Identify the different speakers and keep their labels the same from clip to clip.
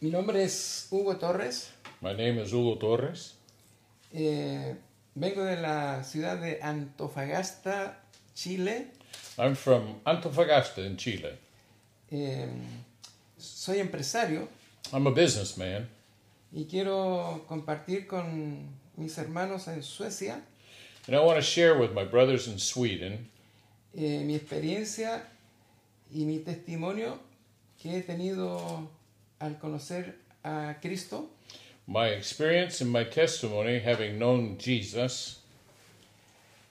Speaker 1: Mi nombre es Hugo Torres.
Speaker 2: My name is Hugo Torres.
Speaker 1: eh, vengo de la ciudad de Antofagasta, Chile.
Speaker 2: I'm from Antofagasta in Chile.
Speaker 1: Eh, soy empresario
Speaker 2: I'm a businessman
Speaker 1: y quiero compartir con mis hermanos en Suecia
Speaker 2: and I want to share with my brothers in Sweden
Speaker 1: eh, mi experiencia y mi testimonio que he tenido al conocer a Cristo.
Speaker 2: my experience and my testimony having known Jesus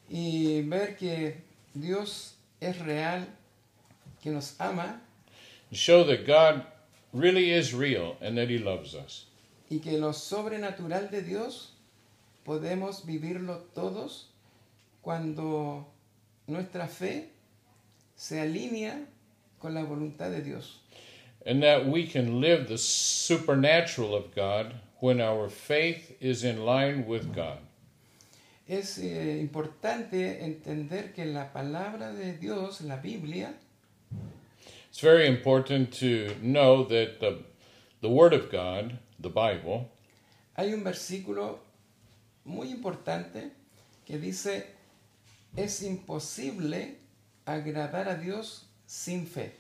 Speaker 1: y ver que Dios es real, que nos ama
Speaker 2: and show that God really is real and that He loves us.
Speaker 1: y que lo sobrenatural de Dios podemos vivirlo todos cuando nuestra fe se alinea con la voluntad de Dios.
Speaker 2: And that we can live the supernatural of God when our faith is in line with God.
Speaker 1: Es eh, importante entender que la palabra de Dios, la Biblia,
Speaker 2: It's very important to know that the, the Word of God, the Bible,
Speaker 1: hay un versículo muy importante que dice, es imposible agradar a Dios sin fe.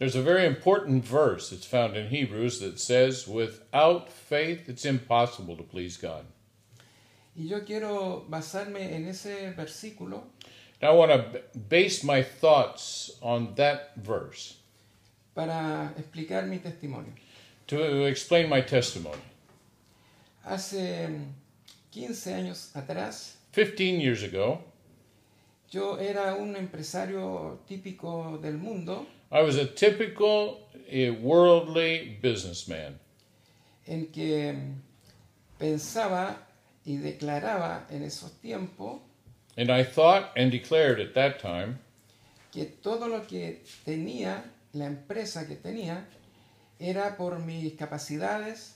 Speaker 2: There's a very important verse that's found in Hebrews that says, Without faith, it's impossible to please God.
Speaker 1: Y yo quiero basarme en ese versículo
Speaker 2: And I want to base my thoughts on that verse
Speaker 1: para explicar mi testimonio.
Speaker 2: to explain my testimony.
Speaker 1: Hace mm, 15 años atrás,
Speaker 2: 15 years ago,
Speaker 1: yo era un empresario típico del mundo
Speaker 2: I was a typical eh, worldly businessman
Speaker 1: en que mm, pensaba y declaraba en esos tiempos
Speaker 2: And I thought and declared at that time
Speaker 1: que todo lo que tenía, la empresa que tenía, era por mis capacidades,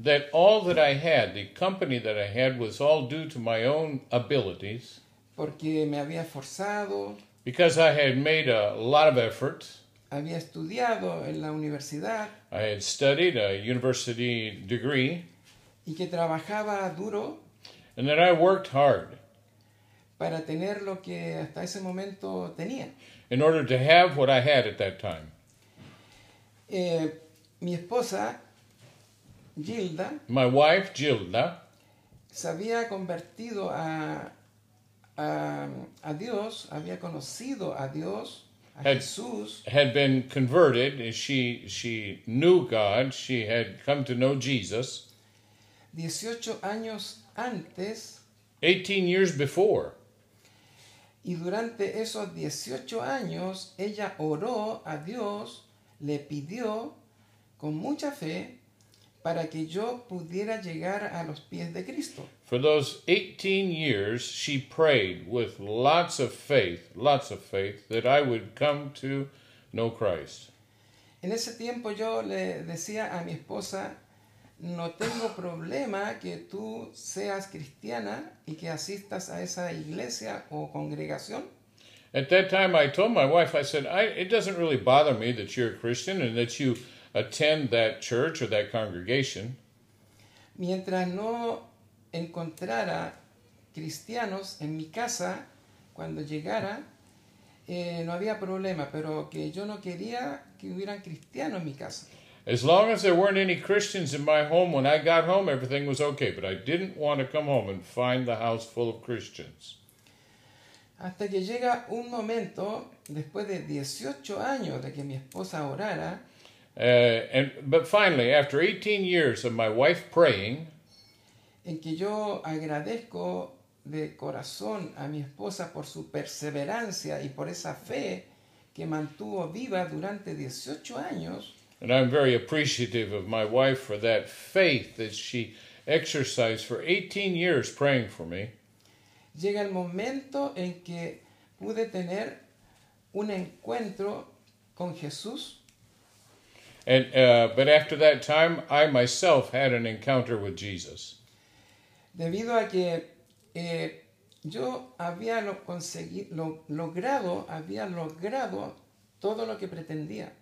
Speaker 2: that all that I had, the company that I had, was all due to my own abilities
Speaker 1: porque me había esforzado,
Speaker 2: because I had made a lot of effort.
Speaker 1: había estudiado en la universidad
Speaker 2: I had studied a university degree
Speaker 1: y que trabajaba duro
Speaker 2: and that I worked hard
Speaker 1: para tener lo que hasta ese momento tenía.
Speaker 2: in order to have what I had at that time.
Speaker 1: Eh, mi esposa, Gilda,
Speaker 2: My wife, Gilda,
Speaker 1: se había convertido a, a, a Dios, había conocido a Dios, a
Speaker 2: Hey.
Speaker 1: Jesús,
Speaker 2: had been converted. She, she knew God. She had come to know Jesus
Speaker 1: 18 años antes,
Speaker 2: 18 years before.
Speaker 1: y durante esos 18 años ella oró a Dios, le pidió con mucha fe para que yo pudiera llegar a los pies de Cristo.
Speaker 2: For those 18 years, she prayed with lots of faith, lots of faith, that I would come to know Christ.
Speaker 1: En ese tiempo yo le decía a mi esposa, no tengo problema que tú seas cristiana y que asistas a esa iglesia o congregación,
Speaker 2: At that time, I told my wife, I said, I, it doesn't really bother me that you're a Christian and that you attend that church or that congregation,
Speaker 1: mientras no encontrara cristianos en mi casa cuando llegara. eh, no había problema, pero que yo no quería que hubieran cristianos en mi casa.
Speaker 2: as long as there weren't any Christians in my home. When I got home, everything was okay, but I didn't want to come home and find the house full of Christians.
Speaker 1: Hasta que llega un momento, después de 18 años de que mi esposa orara,
Speaker 2: Uh, and but finally, after 18 years of my wife praying,
Speaker 1: en que yo agradezco de corazón a mi esposa por su perseverancia y por esa fe que mantuvo viva durante 18 años,
Speaker 2: and I'm very appreciative of my wife for that faith that she exercised for 18 years praying for me.
Speaker 1: llega el momento en que pude tener un encuentro con Jesús
Speaker 2: And uh, but after that time, I myself had an encounter with Jesus
Speaker 1: debido a que eh, yo había lo consegui- lo- logrado, había logrado todo lo que pretendía.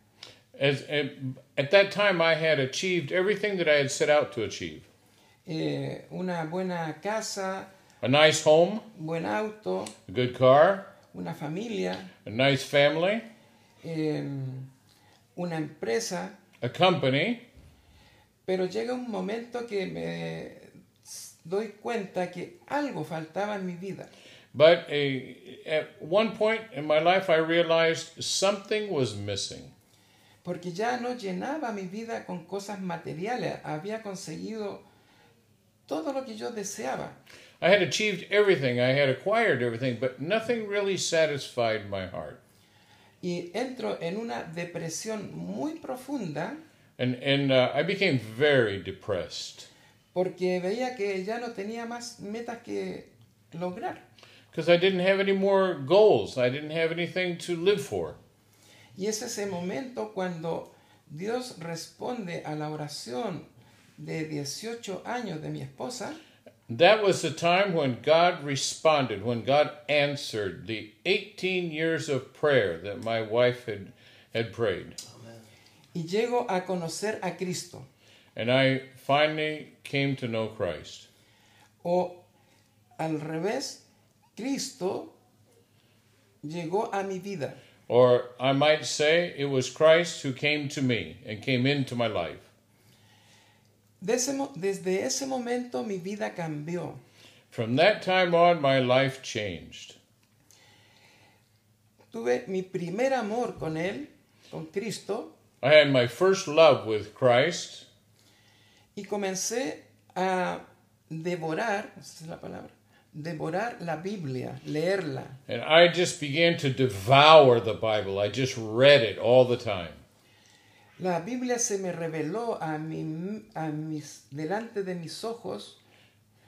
Speaker 2: As, at, at that time, I had achieved everything that I had set out to achieve
Speaker 1: Eh, una buena casa,
Speaker 2: a nice home,
Speaker 1: buen auto,
Speaker 2: a good car,
Speaker 1: una familia,
Speaker 2: a nice family,
Speaker 1: eh, una empresa,
Speaker 2: a company.
Speaker 1: pero llega un momento que me s- doy cuenta que algo faltaba en mi vida.
Speaker 2: But a, at one point in my life, I realized something was missing.
Speaker 1: porque ya no llenaba mi vida con cosas materiales, había conseguido todo lo que yo deseaba.
Speaker 2: I had achieved everything, I had acquired everything, but nothing really satisfied my heart.
Speaker 1: Y entro en una depresión muy profunda
Speaker 2: And, and uh, I became very depressed
Speaker 1: porque veía que ya no tenía más metas que lograr.
Speaker 2: because I didn't have any more goals. I didn't have anything to live for.
Speaker 1: Y es ese momento cuando Dios responde a la oración de 18 años de mi esposa
Speaker 2: That was the time when God responded, when God answered the 18 years of prayer that my wife had, had prayed.
Speaker 1: y llego a conocer a Cristo.
Speaker 2: And I finally came to know Christ.
Speaker 1: O al revés, Cristo llegó a mi vida.
Speaker 2: Or I might say it was Christ who came to me and came into my life.
Speaker 1: De ese mo- desde ese momento mi vida cambió.
Speaker 2: From that time on, my life changed.
Speaker 1: Tuve mi primer amor con Él, con Cristo,
Speaker 2: I had my first love with Christ,
Speaker 1: y comencé a devorar, esa es la palabra, devorar la Biblia, leerla.
Speaker 2: and I just began to devour the Bible. I just read it all the time.
Speaker 1: La Biblia se me reveló a mi- a mis, delante de mis ojos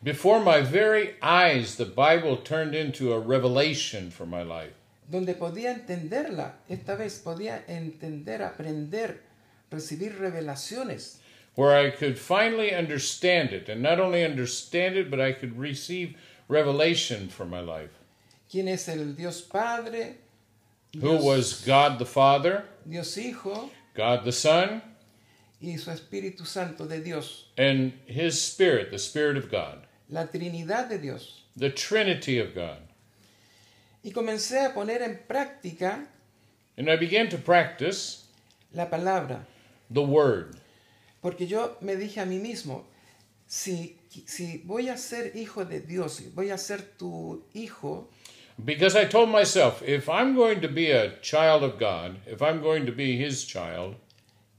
Speaker 2: Before my very eyes, the Bible turned into a revelation for my life.
Speaker 1: donde podía entenderla. Esta vez podía entender, aprender, recibir revelaciones.
Speaker 2: where I could finally understand it, and not only understand it, but I could receive revelation for my life.
Speaker 1: ¿Quién es el Dios Padre?
Speaker 2: Who was God the Father,
Speaker 1: Dios Hijo
Speaker 2: God the Son,
Speaker 1: y su Espíritu Santo de Dios.
Speaker 2: and His Spirit, the Spirit of God,
Speaker 1: La Trinidad de Dios.
Speaker 2: the Trinity of God.
Speaker 1: Y comencé a poner en práctica
Speaker 2: And I began to practice
Speaker 1: la palabra.
Speaker 2: the Word,
Speaker 1: Porque yo me dije a mí mismo, si, si voy a ser hijo de Dios, si voy a ser tu hijo,
Speaker 2: because I told myself, if I'm going to be a child of God, if I'm going to be His child,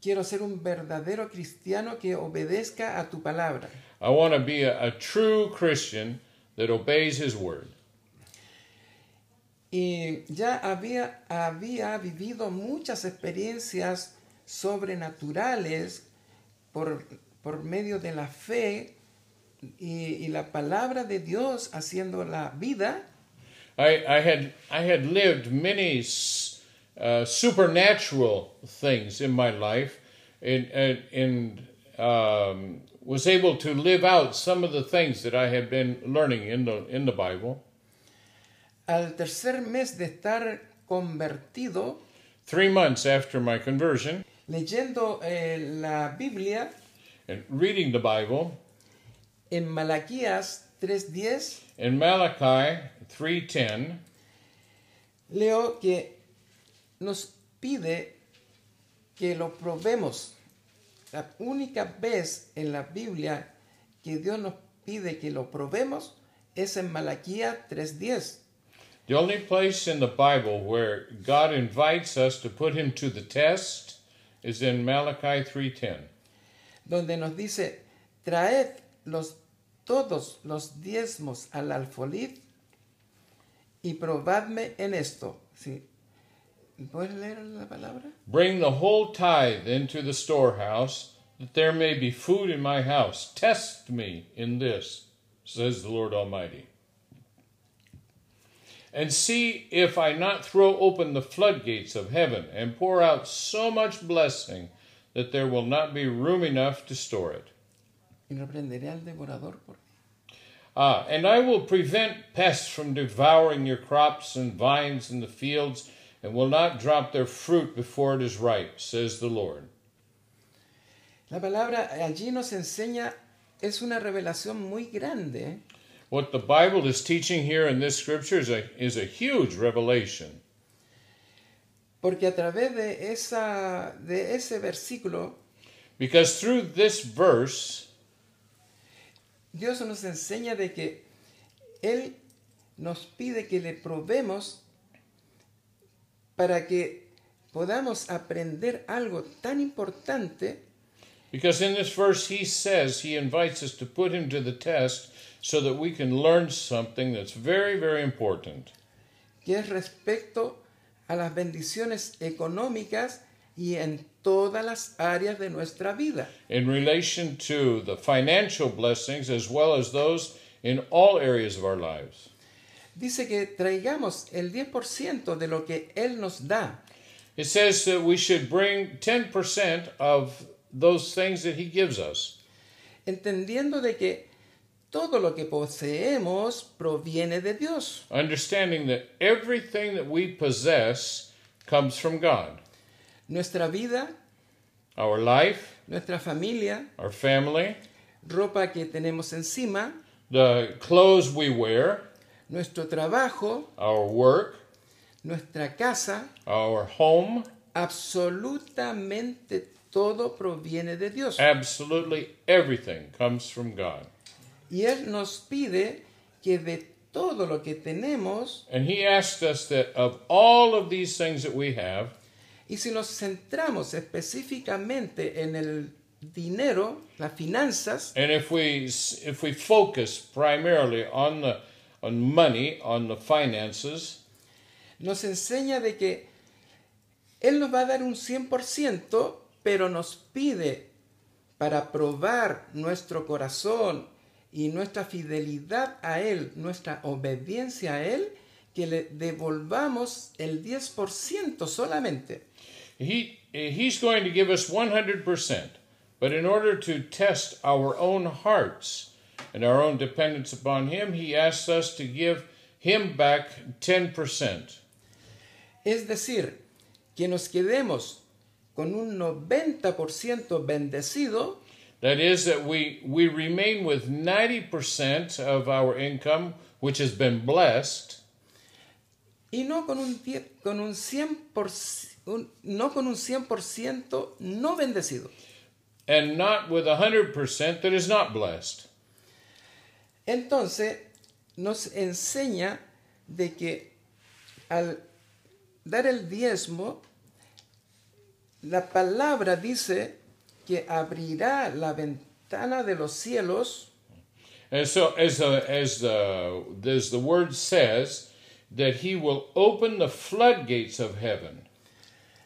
Speaker 1: quiero ser un verdadero cristiano que obedezca a tu palabra.
Speaker 2: I want to be a, a true Christian that obeys His Word.
Speaker 1: Y ya había, había vivido muchas experiencias sobrenaturales por, por medio de la fe y, y la palabra de Dios haciendo la vida,
Speaker 2: I, I had I had lived many s- uh, supernatural things in my life, and and, and um, was able to live out some of the things that I had been learning in the in the Bible.
Speaker 1: al tercer mes de estar convertido,
Speaker 2: Three months after my conversion
Speaker 1: leyendo eh, la Biblia
Speaker 2: and reading the Bible
Speaker 1: en Malaquías 3.10,
Speaker 2: in Malachi three ten,
Speaker 1: leo que nos pide que lo probemos. La única vez en la Biblia que Dios nos pide que lo probemos es en Malaquías 3.10.
Speaker 2: the only place in the Bible where God invites us to put Him to the test is in Malachi three ten.
Speaker 1: donde nos dice, traed los, todos los diezmos al alfolid y probadme en esto. Sí. ¿Puedes leer la palabra?
Speaker 2: Bring the whole tithe into the storehouse, that there may be food in my house. Test me in this, says the Lord Almighty. And see if I not throw open the floodgates of heaven and pour out so much blessing that there will not be room enough to store it.
Speaker 1: Y reprenderé al devorador por
Speaker 2: Ah, and I will prevent pests from devouring your crops and vines in the fields, and will not drop their fruit before it is ripe, says the Lord.
Speaker 1: La palabra allí nos enseña, es una revelación muy grande
Speaker 2: What the Bible is teaching here in this scripture is a, is a huge revelation.
Speaker 1: Porque a través de, esa, de ese versículo,
Speaker 2: Because through this verse,
Speaker 1: Dios nos enseña de que Él nos pide que le probemos para que podamos aprender algo tan importante
Speaker 2: because in this verse he says he invites us to put him to the test so that we can learn something that's very, very important.
Speaker 1: que es respecto a las bendiciones económicas y en todas las áreas de nuestra vida.
Speaker 2: in relation to the financial blessings as well as those in all areas of our lives.
Speaker 1: Dice que traigamos el 10% de lo que Él nos da.
Speaker 2: It says that we should bring 10% of those things that He gives us,
Speaker 1: entendiendo de que todo lo que poseemos proviene de Dios.
Speaker 2: understanding that everything that we possess comes from God
Speaker 1: Nuestra vida,
Speaker 2: our life,
Speaker 1: nuestra familia,
Speaker 2: our family,
Speaker 1: ropa que tenemos encima,
Speaker 2: the clothes we wear,
Speaker 1: nuestro trabajo,
Speaker 2: our work,
Speaker 1: nuestra casa,
Speaker 2: our home.
Speaker 1: absolutamente todo proviene de Dios.
Speaker 2: Absolutely everything comes from God.
Speaker 1: Y Él nos pide que de todo lo que tenemos,
Speaker 2: And He asked us that of all of these things that we have,
Speaker 1: y si nos centramos específicamente en el dinero, las finanzas,
Speaker 2: And if we if we focus primarily on the on money, on the finances,
Speaker 1: nos enseña de que Él nos va a dar un 100%, pero nos pide para probar nuestro corazón y nuestra fidelidad a Él, nuestra obediencia a Él, que le devolvamos el 10% solamente.
Speaker 2: he he's going to give us 100%. But in order to test our own hearts and our own dependence upon him, he asks us to give him back 10%.
Speaker 1: Es decir, que nos quedemos con un 90% bendecido
Speaker 2: That is that we we remain with 90% of our income which has been blessed
Speaker 1: y no con un, 10 con un 100%, un- no con un 100 no bendecido.
Speaker 2: and not with 100% that is not blessed.
Speaker 1: Entonces nos enseña de que al dar el diezmo, la palabra dice que abrirá la ventana de los cielos
Speaker 2: And so, as the as the as the word says, that he will open the floodgates of heaven.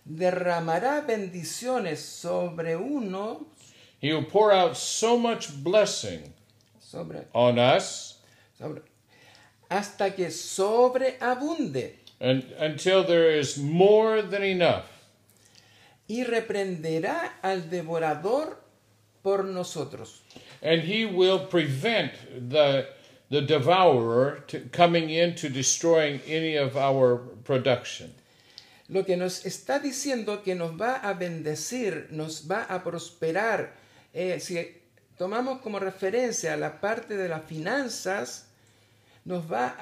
Speaker 1: derramará bendiciones sobre uno,
Speaker 2: He will pour out so much blessing
Speaker 1: sobre,
Speaker 2: on us,
Speaker 1: sobre- hasta que sobreabunde
Speaker 2: and until there is more than enough,
Speaker 1: y reprenderá al devorador por nosotros.
Speaker 2: and he will prevent the the devourer to coming in to destroying any of our production.
Speaker 1: lo que nos está diciendo que nos va a bendecir, nos va a prosperar. Eh, si tomamos como referencia la parte de las finanzas, nos va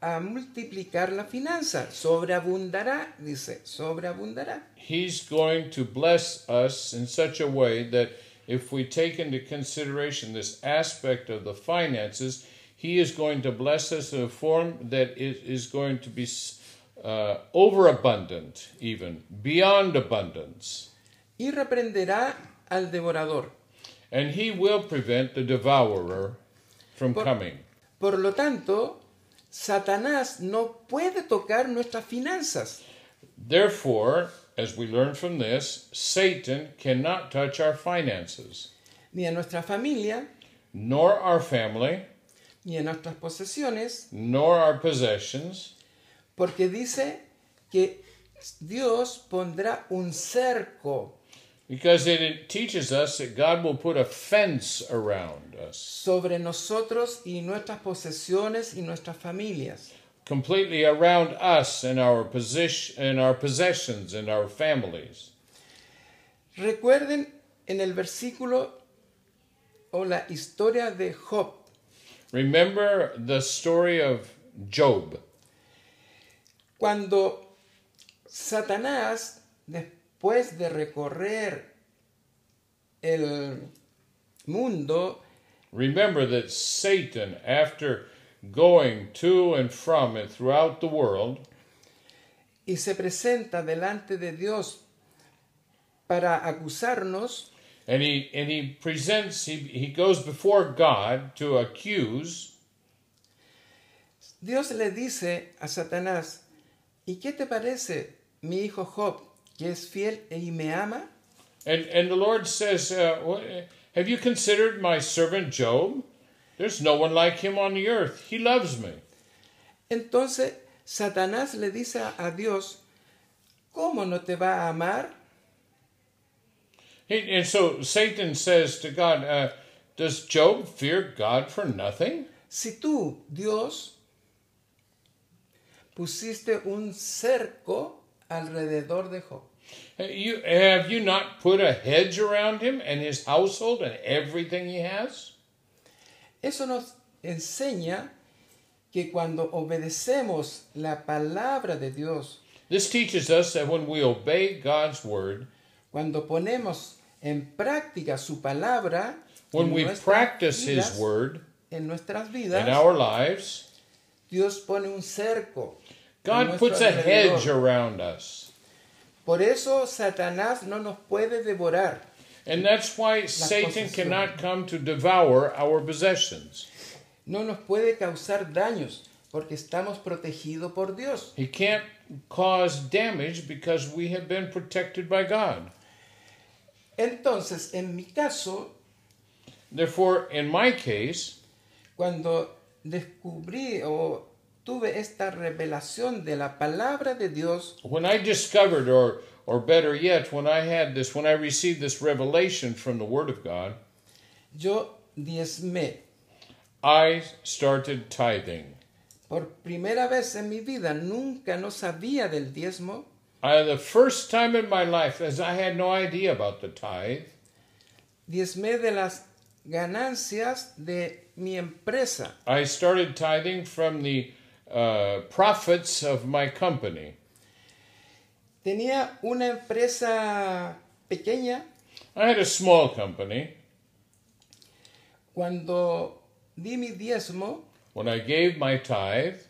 Speaker 1: a, a multiplicar la finanza. Sobreabundará, dice, sobreabundará.
Speaker 2: He's going to bless us in such a way that if we take into consideration this aspect of the finances, He is going to bless us in a form that it is going to be uh, overabundant, even beyond abundance.
Speaker 1: Y reprenderá al devorador.
Speaker 2: And He will prevent the devourer from coming.
Speaker 1: Por lo tanto, Satanás no puede tocar nuestras finanzas.
Speaker 2: Therefore, as we learn from this, Satan cannot touch our finances,
Speaker 1: Ni a nuestra familia,
Speaker 2: nor our family,
Speaker 1: ni a nuestras posesiones,
Speaker 2: nor our possessions.
Speaker 1: Porque dice que Dios pondrá un cerco
Speaker 2: Because it, it teaches us that God will put a fence around us,
Speaker 1: sobre nosotros y nuestras posesiones y nuestras familias.
Speaker 2: completely around us and our position and our possessions and our families.
Speaker 1: Recuerden en el versículo o la historia de Job.
Speaker 2: Remember the story of Job.
Speaker 1: Cuando Satanás, después de recorrer el mundo,
Speaker 2: Remember that Satan, after going to and from and throughout the world,
Speaker 1: y se presenta delante de Dios para acusarnos,
Speaker 2: and he and he presents he, he goes before God to accuse,
Speaker 1: Dios le dice a Satanás, ¿y qué te parece mi hijo Job, que es fiel e y me ama?
Speaker 2: and and the Lord says, uh, "What- "Have you considered my servant Job? There's no one like him on the earth. He loves me."
Speaker 1: Entonces Satanás le dice a- a Dios, ¿cómo no te va a amar?
Speaker 2: He, and so Satan says to God, uh, "Does Job fear God for nothing?"
Speaker 1: Si tú, Dios, pusiste un cerco alrededor de Job.
Speaker 2: Uh, You, have you not put a hedge around him and his household and everything he has?
Speaker 1: Eso nos enseña que cuando obedecemos la palabra de Dios,
Speaker 2: This teaches us that when we obey God's word,
Speaker 1: cuando ponemos en práctica su palabra,
Speaker 2: when
Speaker 1: en
Speaker 2: we
Speaker 1: nuestras
Speaker 2: practice his
Speaker 1: vidas-
Speaker 2: word
Speaker 1: en nuestras
Speaker 2: in
Speaker 1: vidas,
Speaker 2: our lives,
Speaker 1: Dios pone un cerco. en
Speaker 2: God
Speaker 1: nuestro
Speaker 2: puts a
Speaker 1: alrededor.
Speaker 2: hedge around us.
Speaker 1: Por eso Satanás no nos puede devorar.
Speaker 2: And that's why Satan
Speaker 1: posesiones.
Speaker 2: cannot come to devour our possessions.
Speaker 1: no nos puede causar daños porque estamos protegidos por Dios.
Speaker 2: He can't cause damage because we have been protected by God.
Speaker 1: Entonces, en mi caso,
Speaker 2: Therefore, in my case,
Speaker 1: cuando descubrí o tuve esta revelación de la palabra de Dios,
Speaker 2: when I discovered, or, or better yet, when I had this, when I received this revelation from the Word of God,
Speaker 1: yo diezmé.
Speaker 2: I started tithing.
Speaker 1: Por primera vez en mi vida nunca no sabía del diezmo.
Speaker 2: I, the first time in my life, as I had no idea about the tithe,
Speaker 1: Diezmé de las ganancias de mi empresa.
Speaker 2: I started tithing from the uh, profits of my company.
Speaker 1: Tenía una empresa pequeña
Speaker 2: I had a small company.
Speaker 1: cuando di mi diezmo.
Speaker 2: When I gave my tithe,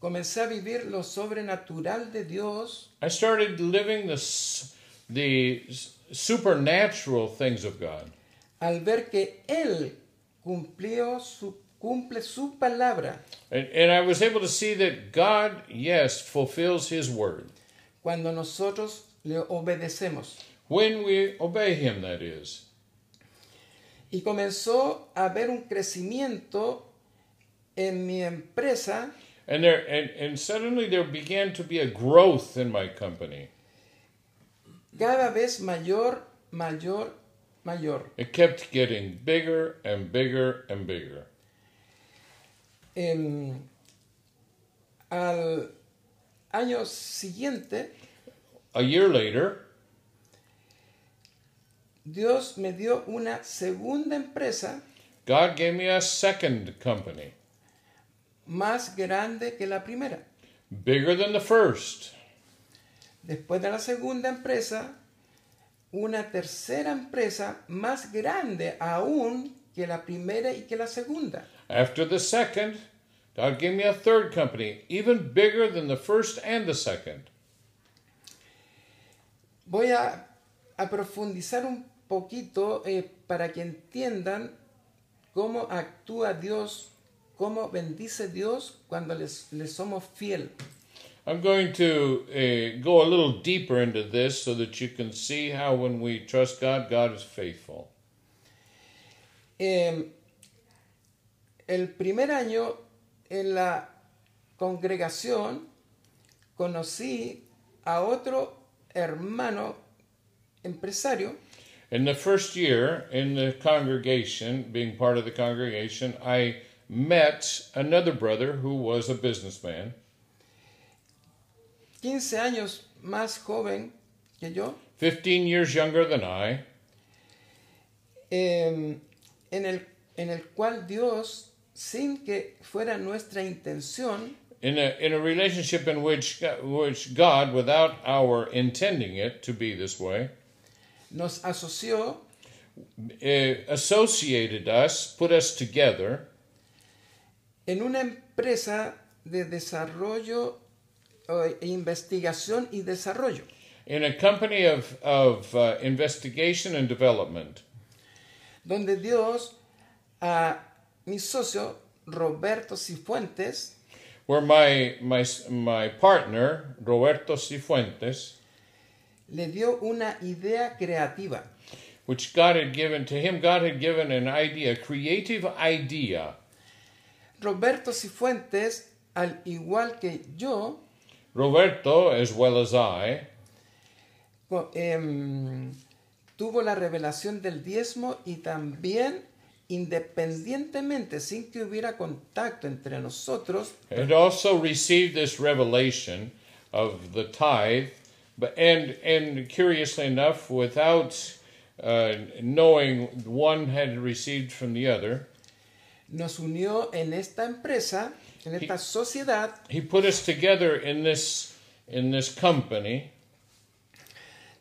Speaker 1: Comencé a vivir lo sobrenatural de Dios
Speaker 2: I started living the, s- the s- supernatural things of God.
Speaker 1: al ver que Él cumplió su, cumple su palabra.
Speaker 2: And, and I was able to see that God, yes, fulfills His word.
Speaker 1: Cuando nosotros le obedecemos.
Speaker 2: When we obey Him, that is.
Speaker 1: Y comenzó a haber un crecimiento en mi empresa
Speaker 2: And, there, and, and suddenly there began to be a growth in my company.
Speaker 1: cada vez mayor, mayor, mayor.
Speaker 2: It kept getting bigger and bigger and bigger.
Speaker 1: Em, al año siguiente,
Speaker 2: A year later,
Speaker 1: Dios me dio una segunda empresa
Speaker 2: God gave me a second company,
Speaker 1: más grande que la primera.
Speaker 2: bigger than the first.
Speaker 1: Después de la segunda empresa, una tercera empresa más grande aún que la primera y que la segunda.
Speaker 2: After the second, God gave me a third company, even bigger than the first and the second.
Speaker 1: Voy a, a profundizar un poquito eh, para que entiendan cómo actúa Dios, cómo bendice Dios cuando les- le somos fiel.
Speaker 2: I'm going to uh, go a little deeper into this so that you can see how when we trust God, God is faithful.
Speaker 1: Eh, el primer año en la congregación conocí a otro hermano empresario
Speaker 2: In the first year in the congregation, being part of the congregation, I met another brother who was a businessman.
Speaker 1: 15 años más joven que yo,
Speaker 2: 15 years younger than I,
Speaker 1: eh, en, el, en el cual Dios, sin que fuera nuestra intención,
Speaker 2: in a, in a relationship in which, which God, without our intending it to be this way,
Speaker 1: nos asoció
Speaker 2: eh, associated us, put us together
Speaker 1: en una empresa de desarrollo eh, e investigación y desarrollo.
Speaker 2: in a company of, of uh, investigation and development,
Speaker 1: donde Dios a mi socio Roberto Cifuentes
Speaker 2: where my, my, my partner, Roberto Cifuentes,
Speaker 1: le dio una idea creativa
Speaker 2: which God had given to him, God had given an idea, a creative idea.
Speaker 1: Roberto Cifuentes, al igual que yo,
Speaker 2: Roberto, as well as I,
Speaker 1: co- em, tuvo la revelación del diezmo y también, independientemente, sin que hubiera contacto entre nosotros,
Speaker 2: had also received this revelation of the tithe, but and and curiously enough, without uh, knowing one had received from the other,
Speaker 1: nos unió en esta empresa, en esta sociedad,
Speaker 2: he put us together in this in this company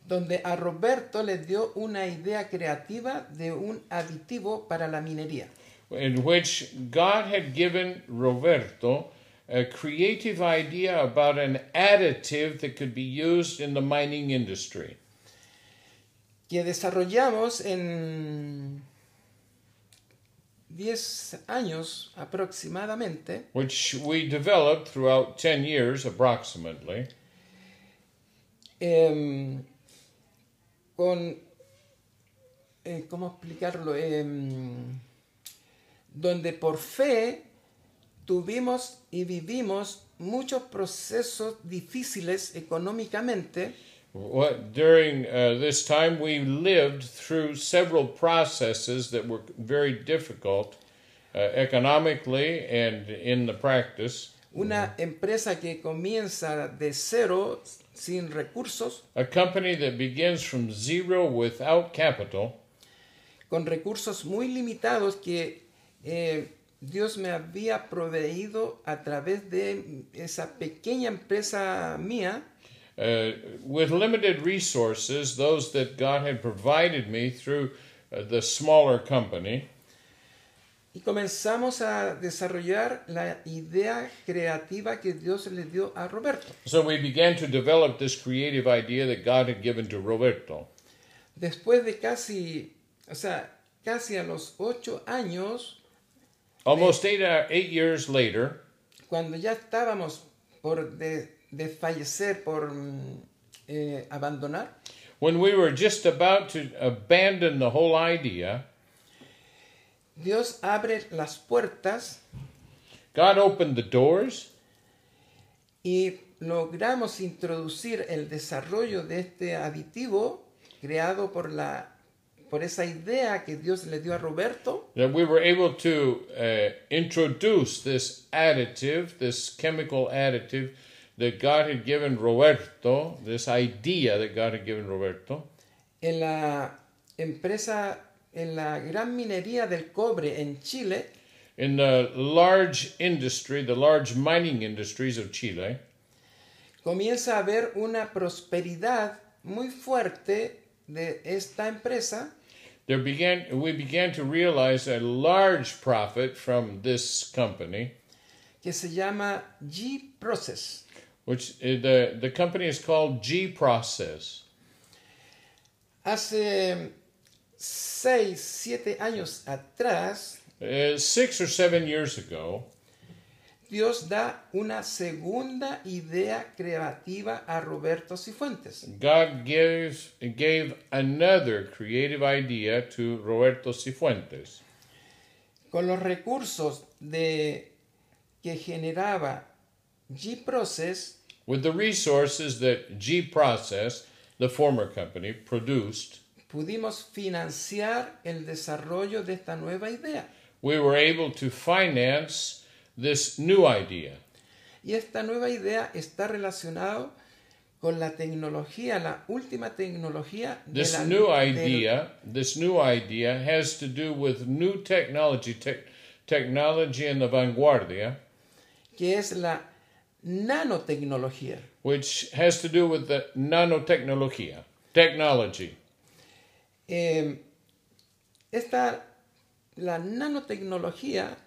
Speaker 1: donde a Roberto le dio una idea creativa de un aditivo para la minería.
Speaker 2: in which God had given Roberto a creative idea about an additive that could be used in the mining industry.
Speaker 1: que desarrollamos en 10 años aproximadamente,
Speaker 2: Which we developed throughout 10 years approximately.
Speaker 1: em, con, eh, ¿cómo explicarlo? Em, donde por fe tuvimos y vivimos muchos procesos difíciles económicamente,
Speaker 2: What, during uh, this time, we lived through several processes that were very difficult uh, economically and in the practice.
Speaker 1: una empresa que comienza de cero, sin recursos,
Speaker 2: A company that begins from zero without capital,
Speaker 1: con recursos muy limitados que eh, Dios me había proveído a través de esa pequeña empresa mía,
Speaker 2: uh, with limited resources, those that God had provided me through uh, the smaller company,
Speaker 1: y comenzamos a desarrollar la idea creativa que Dios le dio a Roberto.
Speaker 2: so we began to develop this creative idea that God had given to Roberto.
Speaker 1: Después de casi, o sea, casi a los ocho años,
Speaker 2: Almost eight, uh, eight years later,
Speaker 1: cuando ya estábamos por de- desfallecer, por mm, eh, abandonar,
Speaker 2: when we were just about to abandon the whole idea,
Speaker 1: Dios abre las puertas
Speaker 2: God opened the doors
Speaker 1: y logramos introducir el desarrollo de este aditivo creado por la por esa idea que Dios le dio a Roberto
Speaker 2: that we were able to uh, introduce this additive, this chemical additive that God had given Roberto, this idea that God had given Roberto
Speaker 1: en la empresa en la gran minería del cobre en Chile
Speaker 2: in the large industry, the large mining industries of Chile.
Speaker 1: comienza a haber una prosperidad muy fuerte de esta empresa
Speaker 2: There began, we began to realize a large profit from this company,
Speaker 1: que se llama G Process
Speaker 2: which uh, the, the company is called G Process.
Speaker 1: hace 6 7 años atrás
Speaker 2: Uh, six or seven years ago,
Speaker 1: Dios da una segunda idea creativa a Roberto Cifuentes.
Speaker 2: God gives, gave another creative idea to Roberto Cifuentes.
Speaker 1: Con los recursos de, que generaba G-Process,
Speaker 2: With the resources that G Process, the former company, produced,
Speaker 1: pudimos financiar el desarrollo de esta nueva idea.
Speaker 2: we were able to finance this new idea.
Speaker 1: Y esta nueva idea está relacionado con la tecnología, la última tecnología de
Speaker 2: This
Speaker 1: la
Speaker 2: new
Speaker 1: del-
Speaker 2: idea, this new idea has to do with new technology, tech technology in the vanguardia,
Speaker 1: que es la nanotecnología.
Speaker 2: which has to do with the nanotechnologia, technology.
Speaker 1: Eh, esta, la nanotecnología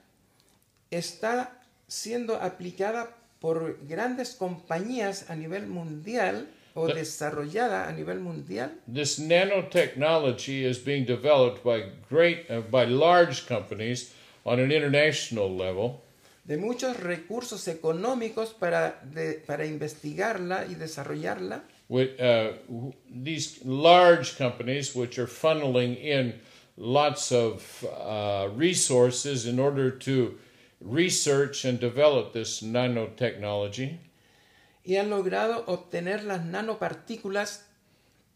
Speaker 1: está siendo aplicada por grandes compañías a nivel mundial o
Speaker 2: La-
Speaker 1: desarrollada a nivel mundial
Speaker 2: This nanotechnology is being developed by great, uh, by large companies on an international level,
Speaker 1: de muchos recursos económicos para, de- para investigarla y desarrollarla.
Speaker 2: with uh, w- these large companies which are funneling in lots of uh, resources in order to research and develop this nanotechnology.
Speaker 1: y han logrado obtener las nanopartículas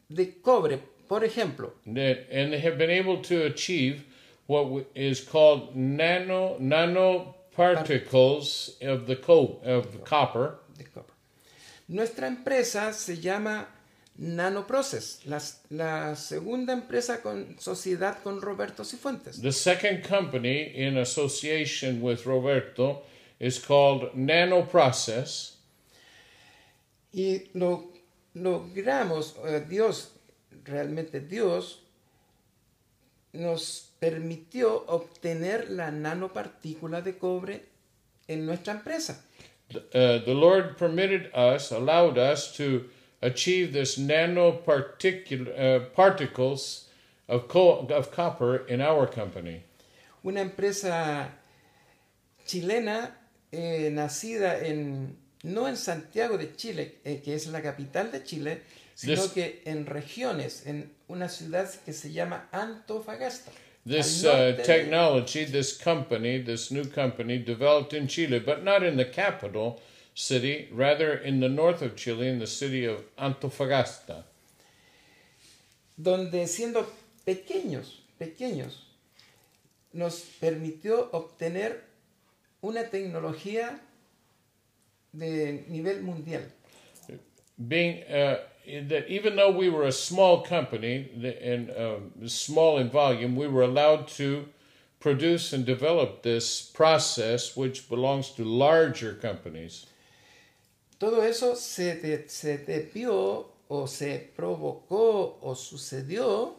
Speaker 1: de cobre, por ejemplo.
Speaker 2: that and they have been able to achieve what w- is called nano nanoparticles of the co- of copper.
Speaker 1: de cobre. Nuestra empresa se llama Nanoprocess, la, la segunda empresa con sociedad con Roberto Cifuentes.
Speaker 2: The second company in association with Roberto is called Nanoprocess,
Speaker 1: Y lo logramos, eh, Dios, realmente Dios, nos permitió obtener la nanopartícula de cobre en nuestra empresa.
Speaker 2: uh, the Lord permitted us, allowed us to achieve this nanoparticle uh, particles of co- of copper in our company.
Speaker 1: una empresa chilena eh, nacida en no en Santiago de Chile, eh, que es la capital de Chile, sino
Speaker 2: This-
Speaker 1: que en regiones, en una ciudad que se llama Antofagasta.
Speaker 2: This
Speaker 1: al
Speaker 2: uh,
Speaker 1: norte de-
Speaker 2: technology, this company, this new company developed in Chile, but not in the capital city, rather in the north of Chile, in the city of Antofagasta.
Speaker 1: donde siendo pequeños, pequeños, nos permitió obtener una tecnología de nivel mundial.
Speaker 2: Being uh, in that even though we were a small company the- and um, small in volume, we were allowed to produce and develop this process, which belongs to larger companies.
Speaker 1: Todo eso se, de- se debió o se provocó o sucedió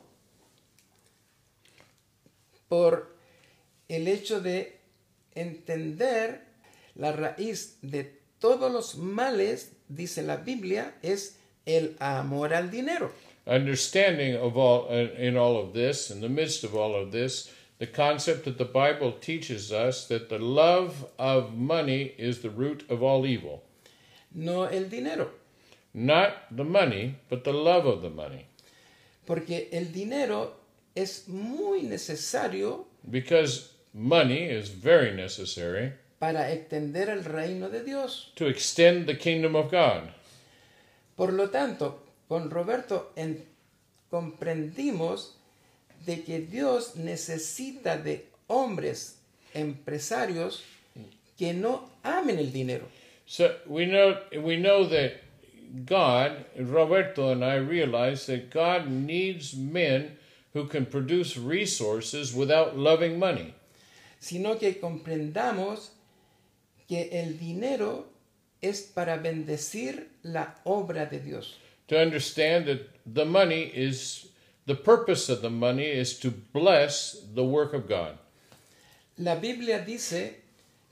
Speaker 1: por el hecho de entender la raíz de todos los males, dice la Biblia, es el amor al dinero.
Speaker 2: understanding of all uh, in all of this in the midst of all of this the concept that the bible teaches us that the love of money is the root of all evil
Speaker 1: No el dinero,
Speaker 2: not the money but the love of the money
Speaker 1: porque el dinero es muy necesario
Speaker 2: because money is very necessary
Speaker 1: para extender el reino de Dios.
Speaker 2: to extend the kingdom of god
Speaker 1: Por lo tanto, con Roberto en- comprendimos de que Dios necesita de hombres empresarios que no amen el dinero.
Speaker 2: so we know we know that god roberto and i realize that god needs men who can produce resources without loving money
Speaker 1: sino que comprendamos que el dinero es para bendecir la obra de Dios.
Speaker 2: to understand that the money is the purpose of the money is to bless the work of God.
Speaker 1: La Biblia dice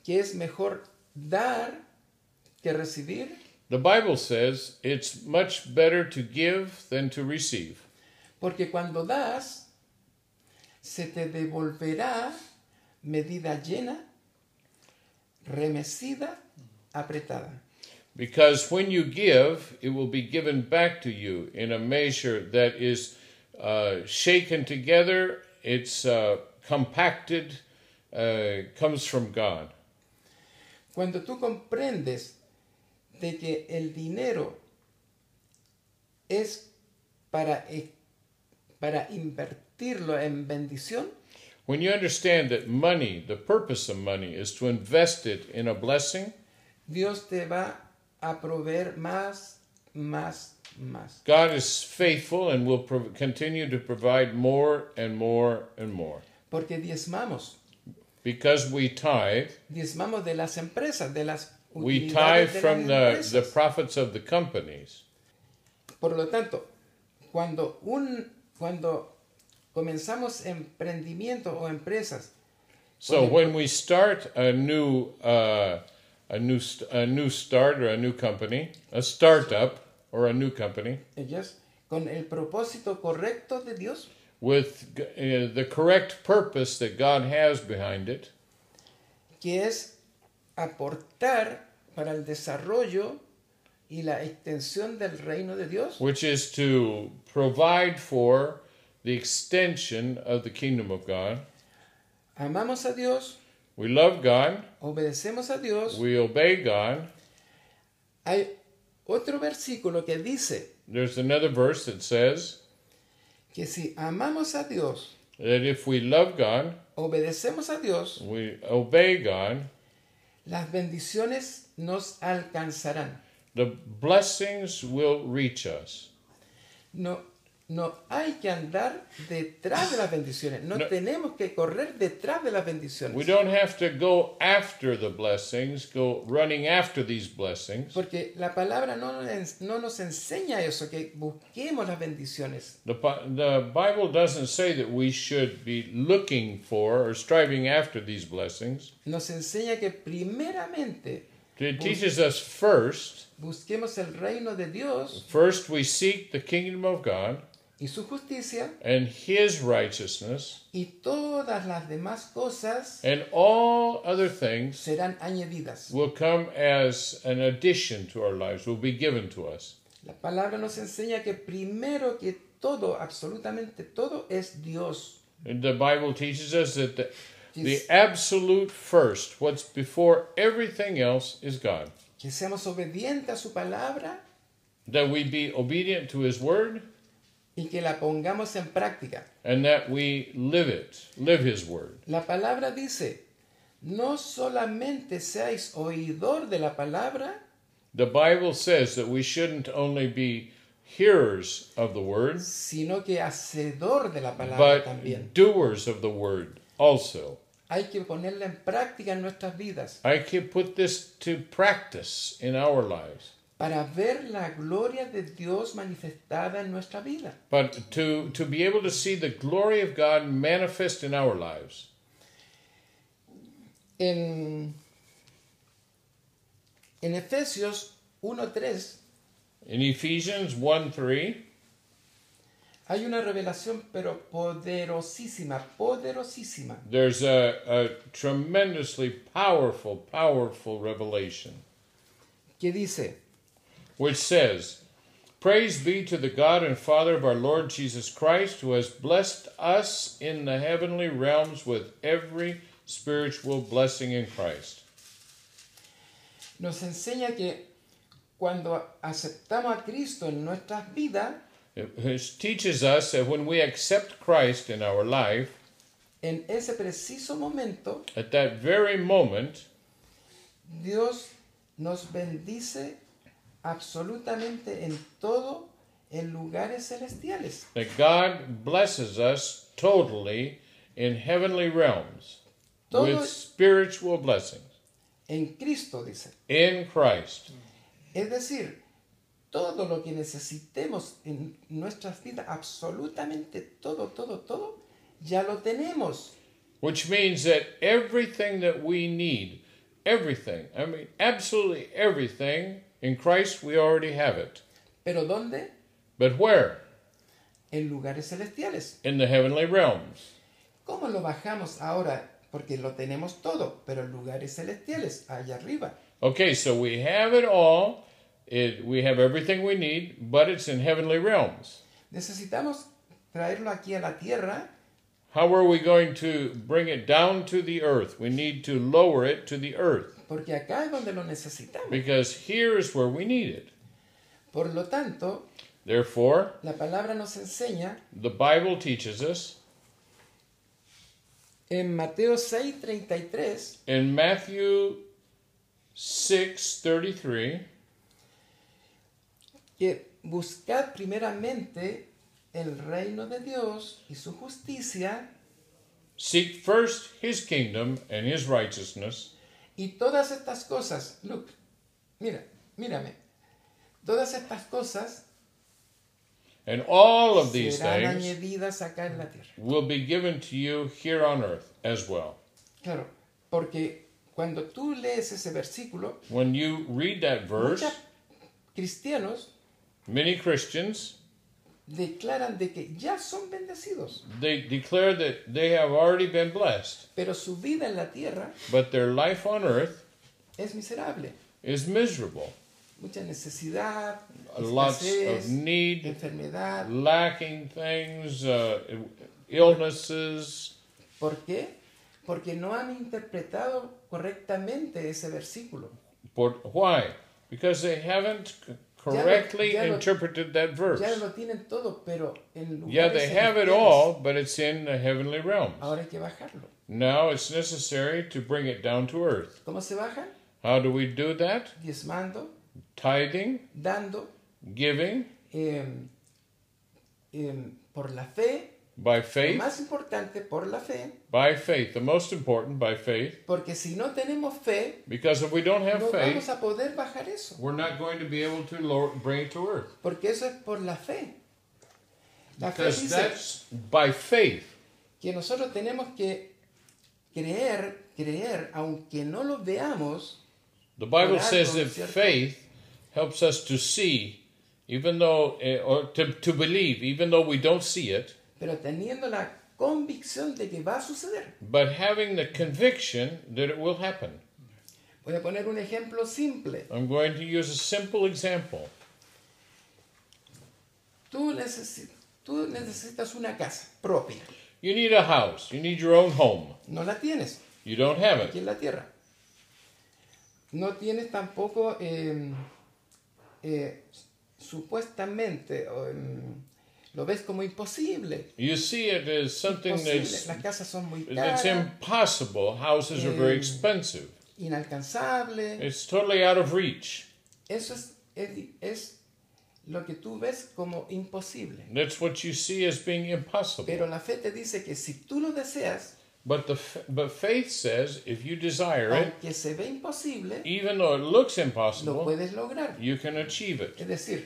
Speaker 1: que es mejor dar que recibir
Speaker 2: The Bible says it's much better to give than to receive
Speaker 1: Porque cuando das, se te devolverá medida llena, remecida, apretada.
Speaker 2: because when you give, it will be given back to you in a measure that is uh, shaken together, it's uh, compacted, uh, comes from God.
Speaker 1: Cuando tú comprendes de que el dinero e, es para, para invertirlo en bendición,
Speaker 2: When you understand that money, the purpose of money, is to invest it in a blessing,
Speaker 1: Dios te va a proveer más, más, más.
Speaker 2: God is faithful and will prov- continue to provide more and more and more.
Speaker 1: Porque diezmamos.
Speaker 2: Because we tithe,
Speaker 1: Diezmamos de las empresas, de las
Speaker 2: we tithe
Speaker 1: utilidades de
Speaker 2: from the,
Speaker 1: las
Speaker 2: the
Speaker 1: empresas.
Speaker 2: profits of the companies.
Speaker 1: Por lo tanto, cuando, un, cuando comenzamos emprendimiento o empresas,
Speaker 2: So when we start a new uh, a new st- a new start or a new company, a startup or a new company
Speaker 1: ellas, con el propósito correcto de Dios,
Speaker 2: with g- uh, the correct purpose that God has behind it,
Speaker 1: que es aportar para el desarrollo y la extensión del reino de Dios,
Speaker 2: which is to provide for the extension of the kingdom of God.
Speaker 1: amamos a Dios,
Speaker 2: We love God,
Speaker 1: obedecemos a Dios.
Speaker 2: we obey God.
Speaker 1: Hay otro versículo que dice
Speaker 2: There's another verse that says
Speaker 1: que si amamos a Dios,
Speaker 2: that if we love God,
Speaker 1: obedecemos a Dios,
Speaker 2: we obey God,
Speaker 1: las bendiciones nos alcanzarán.
Speaker 2: the blessings will reach us.
Speaker 1: No, no hay que andar detrás de las bendiciones. No,
Speaker 2: No.
Speaker 1: tenemos que correr detrás de las bendiciones.
Speaker 2: We don't have to go after the blessings, go running after these blessings.
Speaker 1: Porque la palabra no, nos ens- no nos enseña eso, que busquemos las bendiciones.
Speaker 2: The, Bi- the Bible doesn't say that we should be looking for or striving after these blessings.
Speaker 1: Nos enseña que primeramente
Speaker 2: It teaches us first,
Speaker 1: busquemos el reino de Dios
Speaker 2: first we seek the kingdom of God
Speaker 1: y su justicia
Speaker 2: and his righteousness,
Speaker 1: y todas las demás cosas
Speaker 2: and all other things
Speaker 1: serán añadidas.
Speaker 2: will come as an addition to our lives, will be given to us.
Speaker 1: La palabra nos enseña que primero que todo, absolutamente todo, es Dios.
Speaker 2: And the Bible teaches us that the, the
Speaker 1: Yes.
Speaker 2: absolute first, what's before everything else, is God.
Speaker 1: Que seamos obedientes a su palabra
Speaker 2: That we be obedient to His word
Speaker 1: y que la pongamos en práctica.
Speaker 2: and that we live it, live His word.
Speaker 1: La palabra dice, no solamente seáis oidor de la palabra,
Speaker 2: The Bible says that we shouldn't only be hearers of the word,
Speaker 1: sino que hacedor de la palabra también.
Speaker 2: but doers of the word also.
Speaker 1: Hay que ponerla en práctica en nuestras vidas
Speaker 2: I can put this to practice in our lives.
Speaker 1: para ver la gloria de Dios manifestada en nuestra vida.
Speaker 2: But to, to be able to see the glory of God manifest in our lives.
Speaker 1: En, en Efesios 1.3
Speaker 2: In Ephesians 1 3,
Speaker 1: hay una revelación, pero poderosísima, poderosísima.
Speaker 2: there's a, a tremendously powerful, powerful revelation
Speaker 1: que dice,
Speaker 2: which says, Praise be to the God and Father of our Lord Jesus Christ, who has blessed us in the heavenly realms with every spiritual blessing in Christ.
Speaker 1: nos enseña que cuando aceptamos a Cristo en nuestras vidas,
Speaker 2: It- It teaches us that when we accept Christ in our life,
Speaker 1: en ese preciso momento,
Speaker 2: at that very moment,
Speaker 1: Dios nos bendice absolutamente en todo en lugares celestiales.
Speaker 2: that God blesses us totally in heavenly realms
Speaker 1: Todo
Speaker 2: with spiritual blessings
Speaker 1: en Cristo, dice.
Speaker 2: in Christ.
Speaker 1: Es decir, todo lo que necesitemos en nuestras vidas, absolutamente todo, todo, todo, ya lo tenemos.
Speaker 2: Which means that everything that we need, everything, I mean, absolutely everything, in Christ we already have it.
Speaker 1: Pero ¿dónde?
Speaker 2: But where?
Speaker 1: En lugares celestiales.
Speaker 2: In the heavenly realms.
Speaker 1: ¿Cómo lo bajamos ahora? Porque lo tenemos todo, pero en lugares celestiales, allá arriba.
Speaker 2: Okay, so we have it all. It, we have everything we need, but it's in heavenly realms.
Speaker 1: Necesitamos traerlo aquí a la tierra
Speaker 2: How are we going to bring it down to the earth? We need to lower it to the earth.
Speaker 1: porque acá es donde lo necesitamos.
Speaker 2: because here is where we need it.
Speaker 1: Por lo tanto,
Speaker 2: Therefore,
Speaker 1: la palabra nos enseña
Speaker 2: the Bible teaches us
Speaker 1: En Mateo 6:33
Speaker 2: In Matthew 6:33,
Speaker 1: que buscad primeramente el reino de Dios y su justicia
Speaker 2: seek first his kingdom and his righteousness,
Speaker 1: y todas estas cosas. Luke, mira, mírame. Todas estas cosas
Speaker 2: and all of these
Speaker 1: serán
Speaker 2: things
Speaker 1: añadidas acá en la tierra.
Speaker 2: will be given to you here on earth as well.
Speaker 1: Claro, porque cuando tú lees ese versículo,
Speaker 2: When you read that verse,
Speaker 1: muchos cristianos
Speaker 2: many Christians
Speaker 1: declaran de que ya son bendecidos,
Speaker 2: they declare that they have already been blessed,
Speaker 1: pero su vida en la tierra
Speaker 2: but their life on earth
Speaker 1: es miserable.
Speaker 2: is miserable.
Speaker 1: Mucha necesidad,
Speaker 2: Lots of
Speaker 1: escasez,
Speaker 2: need,
Speaker 1: enfermedad.
Speaker 2: lacking things, uh, illnesses.
Speaker 1: ¿Por qué? Porque no han interpretado correctamente ese versículo.
Speaker 2: But why? Because they haven't c-
Speaker 1: lo-
Speaker 2: correctly
Speaker 1: ya lo-
Speaker 2: interpreted that verse.
Speaker 1: Ya lo tienen todo, pero en lugar
Speaker 2: Yeah, they have it all, but it's in the heavenly realms.
Speaker 1: ahora hay que bajarlo.
Speaker 2: Now it's necessary to bring it down to earth.
Speaker 1: ¿Cómo se baja?
Speaker 2: How do we do that?
Speaker 1: Diezmando,
Speaker 2: Tithing,
Speaker 1: dando,
Speaker 2: giving
Speaker 1: eh, eh, por la fe,
Speaker 2: by
Speaker 1: lo
Speaker 2: faith,
Speaker 1: más importante, por la fe,
Speaker 2: by faith. The most important by faith,
Speaker 1: porque si no tenemos fe,
Speaker 2: because if we don't have
Speaker 1: no vamos
Speaker 2: faith,
Speaker 1: a poder bajar eso,
Speaker 2: we're not going to be able to lower, bring it to earth.
Speaker 1: porque eso es por la fe. La fe
Speaker 2: Because
Speaker 1: dice
Speaker 2: that's by faith.
Speaker 1: que nosotros tenemos que creer, creer, aunque no lo veamos,
Speaker 2: The Bible
Speaker 1: Orar
Speaker 2: says
Speaker 1: con
Speaker 2: that
Speaker 1: cierto-
Speaker 2: faith helps us to see, even though, eh, or to, to believe, even though we don't see it,
Speaker 1: pero teniendo la convicción de que va a suceder.
Speaker 2: but having the conviction that it will happen.
Speaker 1: Voy a poner un ejemplo simple.
Speaker 2: I'm going to use a simple example.
Speaker 1: Tú, necesi- tú necesitas una casa propia.
Speaker 2: You need a house, you need your own home.
Speaker 1: No la tienes
Speaker 2: You don't have
Speaker 1: aquí
Speaker 2: it.
Speaker 1: en la tierra. No tienes tampoco eh, eh, supuestamente, o, em, lo ves como imposible.
Speaker 2: You see it as something
Speaker 1: Imposible.
Speaker 2: that's,
Speaker 1: Las casas son muy
Speaker 2: that's
Speaker 1: caras,
Speaker 2: impossible. Houses are
Speaker 1: Mm.
Speaker 2: very expensive,
Speaker 1: inalcanzables.
Speaker 2: it's totally out of reach.
Speaker 1: Eso es, es, es lo que tú ves como imposible.
Speaker 2: That's what you see as being impossible.
Speaker 1: Pero la fe te dice que si tú lo deseas,
Speaker 2: But the f- but faith says if you desire it,
Speaker 1: aunque se ve imposible,
Speaker 2: even though it looks
Speaker 1: lo
Speaker 2: impossible,
Speaker 1: puedes lograr.
Speaker 2: you can achieve it.
Speaker 1: Es decir,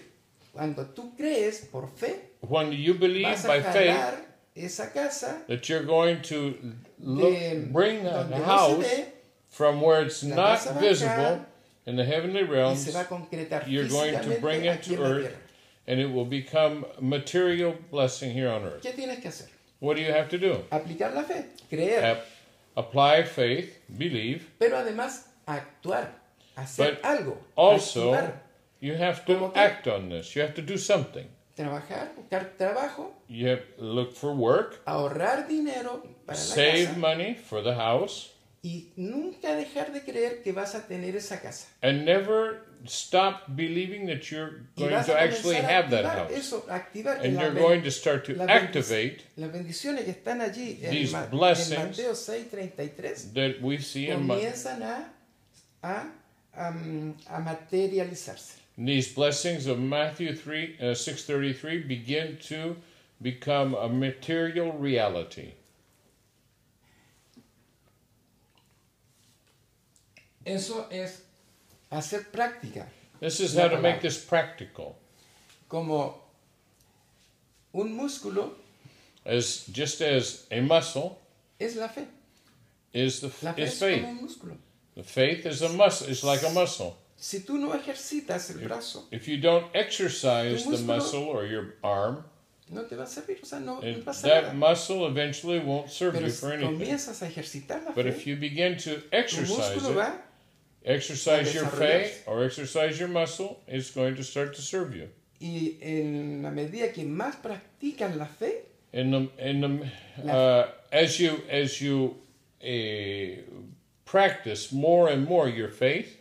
Speaker 1: cuando tú crees por fe,
Speaker 2: When you believe
Speaker 1: vas
Speaker 2: by
Speaker 1: a
Speaker 2: faith
Speaker 1: jalar esa casa
Speaker 2: that you're going to
Speaker 1: de-
Speaker 2: look, bring the
Speaker 1: Eh, donde no
Speaker 2: house
Speaker 1: se ve
Speaker 2: from where it's
Speaker 1: la
Speaker 2: not
Speaker 1: vas a
Speaker 2: visible
Speaker 1: bajar,
Speaker 2: in the heavenly
Speaker 1: y se
Speaker 2: realms,
Speaker 1: va a concretar
Speaker 2: you're going to
Speaker 1: físicamente
Speaker 2: bring it
Speaker 1: aquí
Speaker 2: to
Speaker 1: en la
Speaker 2: earth,
Speaker 1: tierra.
Speaker 2: and it will become material blessing here on earth.
Speaker 1: ¿Qué tienes que hacer?
Speaker 2: What do you have to do?
Speaker 1: Aplicar la fe, creer,
Speaker 2: Ap- apply faith, believe.
Speaker 1: pero además actuar, hacer
Speaker 2: But
Speaker 1: algo,
Speaker 2: Also,
Speaker 1: activar,
Speaker 2: you have
Speaker 1: Como
Speaker 2: to
Speaker 1: que-
Speaker 2: act on this. You have to do something.
Speaker 1: trabajar, buscar trabajo,
Speaker 2: You have look for work.
Speaker 1: ahorrar dinero para la
Speaker 2: save
Speaker 1: casa
Speaker 2: money for the house
Speaker 1: y nunca dejar de creer que vas a tener esa casa.
Speaker 2: and never stop believing that you're
Speaker 1: Y
Speaker 2: going
Speaker 1: vas a
Speaker 2: to actually
Speaker 1: comenzar a
Speaker 2: have that
Speaker 1: activar
Speaker 2: house
Speaker 1: Eso, a activar que
Speaker 2: and
Speaker 1: la
Speaker 2: you're
Speaker 1: ben-
Speaker 2: going to start to
Speaker 1: la bendic-
Speaker 2: activate
Speaker 1: Las bendiciones que están allí en,
Speaker 2: these
Speaker 1: Ma- en
Speaker 2: blessings
Speaker 1: Mateo 6:33
Speaker 2: that we see in Ma-
Speaker 1: comienzan a, a, a, mm, a materializarse.
Speaker 2: these blessings of Matthew 3 uh, 6:33 begin to become a material reality
Speaker 1: Eso es hacer práctica,
Speaker 2: this is
Speaker 1: La
Speaker 2: how to make
Speaker 1: palabra.
Speaker 2: this practical
Speaker 1: como un músculo
Speaker 2: as just as a muscle
Speaker 1: es la fe.
Speaker 2: is the
Speaker 1: La
Speaker 2: f-
Speaker 1: fe
Speaker 2: is
Speaker 1: es,
Speaker 2: faith
Speaker 1: como un músculo.
Speaker 2: the faith is a muscle it's like a muscle
Speaker 1: Si tú no ejercitas el brazo,
Speaker 2: if you don't exercise
Speaker 1: Tu
Speaker 2: the
Speaker 1: músculo-
Speaker 2: muscle or your arm
Speaker 1: no te va a servir, o sea, no, no
Speaker 2: It-
Speaker 1: pasa
Speaker 2: that
Speaker 1: nada.
Speaker 2: muscle eventually won't serve
Speaker 1: Pero
Speaker 2: you for
Speaker 1: si
Speaker 2: anything.
Speaker 1: comienzas a ejercitar la
Speaker 2: But if
Speaker 1: fe,
Speaker 2: you begin to
Speaker 1: tu
Speaker 2: exercise
Speaker 1: músculo
Speaker 2: it,
Speaker 1: va
Speaker 2: exercise
Speaker 1: a
Speaker 2: your faith or exercise your muscle, it's going to start to serve you.
Speaker 1: Y en la medida que más practican la fe,
Speaker 2: In the in the uh, as you as you uh, practice more and more your faith,